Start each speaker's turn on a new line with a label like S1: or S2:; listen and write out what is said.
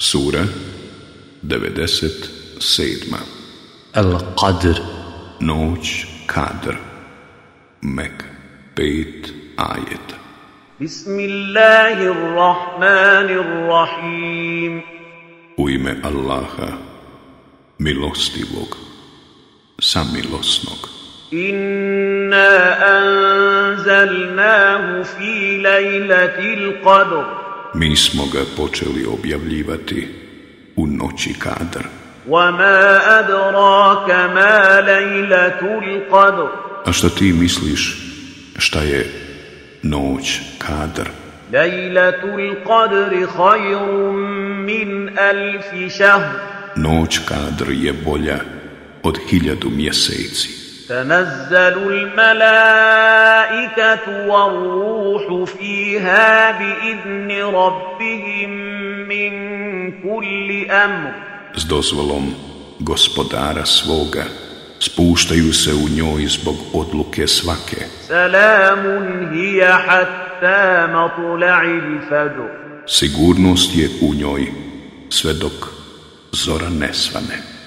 S1: Sura 97.
S2: Al-Qadr
S1: Noć Kadr Mek 5 ajeta
S3: بسم الله الرحمن الرحيم
S1: U ime Allaha Milostivog Samilosnog
S3: إنا أنزلناه في ليلة القدر
S1: Mi smo ga počeli objavljivati u noći Kadr
S3: وما أدراك ما ليلة القدر
S1: A što ti misliš šta je noć Kadr?
S3: ليلة القدر خير من ألف شهر
S1: Noć Kadr je bolja od hiljadu mjeseci
S3: تنزل الملائكة والروح فيها بإذن ربهم من كل أمر
S1: s dozvolom gospodara svoga, spuštaju se u njoj zbog odluke svake.
S3: سلام هي حتى مطلع الفجر
S1: Sigurnost je u njoj sve dok zora ne svane.